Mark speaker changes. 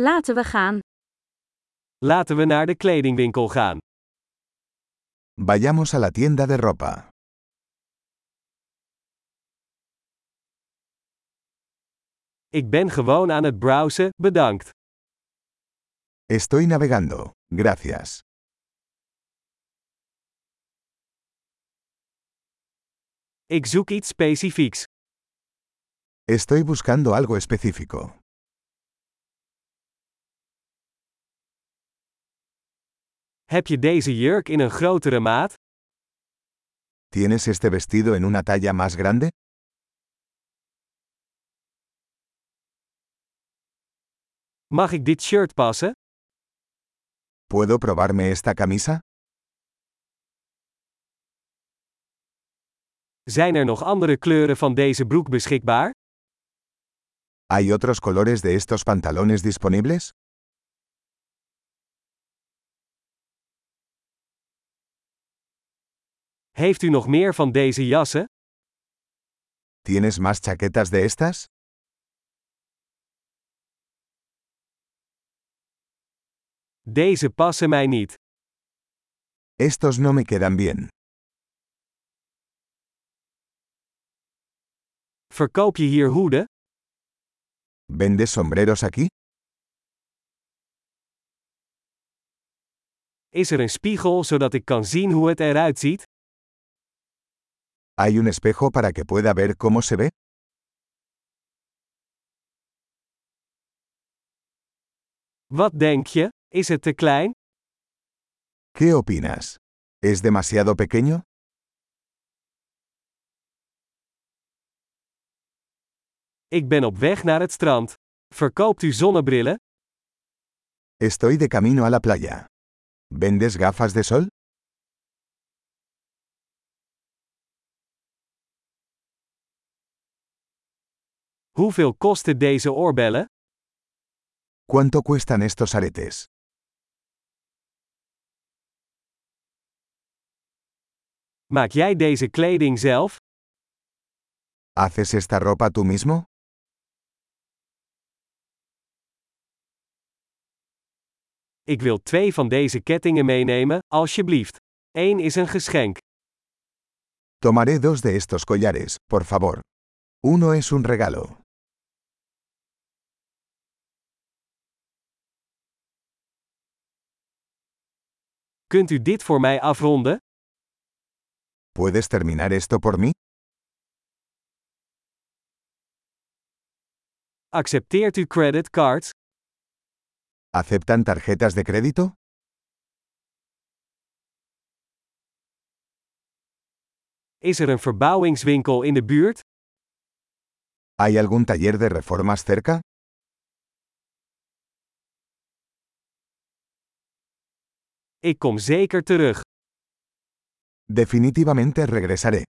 Speaker 1: Laten we gaan.
Speaker 2: Laten we naar de kledingwinkel gaan.
Speaker 3: Vayamos a la tienda de ropa.
Speaker 2: Ik ben gewoon aan het browsen, bedankt.
Speaker 3: Estoy navegando. Gracias.
Speaker 2: Ik zoek iets specifieks.
Speaker 3: Estoy buscando algo específico.
Speaker 2: Heb je deze jurk in een grotere maat?
Speaker 3: ¿Tienes este vestido en una talla más grande?
Speaker 2: Mag ik dit shirt passen?
Speaker 3: ¿Puedo probarme esta camisa?
Speaker 2: Zijn er nog andere kleuren van deze broek beschikbaar?
Speaker 3: ¿Hay otros colores de estos pantalones disponibles?
Speaker 2: Heeft u nog meer van deze jassen?
Speaker 3: ¿Tienes más chaquetas de estas?
Speaker 2: Deze passen mij niet.
Speaker 3: Estos no me quedan bien.
Speaker 2: Verkoop je hier hoeden?
Speaker 3: ¿Vendes sombreros aquí?
Speaker 2: Is er een spiegel zodat ik kan zien hoe het eruit ziet?
Speaker 3: ¿Hay un espejo para que pueda ver cómo se ve?
Speaker 2: Wat denk je? Is het te klein?
Speaker 3: ¿Qué opinas? ¿Es demasiado pequeño?
Speaker 2: Ik ben op weg naar het strand. Verkoopt u zonnebrillen?
Speaker 3: Estoy de camino a la playa. ¿Vendes gafas de sol?
Speaker 2: Hoeveel kosten deze oorbellen?
Speaker 3: ¿Cuánto cuestan estos aretes?
Speaker 2: Maak jij deze kleding zelf?
Speaker 3: ¿Haces esta ropa tú mismo?
Speaker 2: Ik wil twee van deze kettingen meenemen, alsjeblieft. Eén is een geschenk.
Speaker 3: Tomaré dos de estos collares, por favor. Uno es un regalo.
Speaker 2: Kunt u dit voor mij afronden?
Speaker 3: ¿Puedes terminar esto por mí?
Speaker 2: Accepteert u creditcards?
Speaker 3: ¿Aceptan tarjetas de crédito?
Speaker 2: Is er een verbouwingswinkel in de buurt?
Speaker 3: ¿Hay algún taller de reformas cerca?
Speaker 2: Ik kom zeker terug.
Speaker 3: Definitivamente regresaré.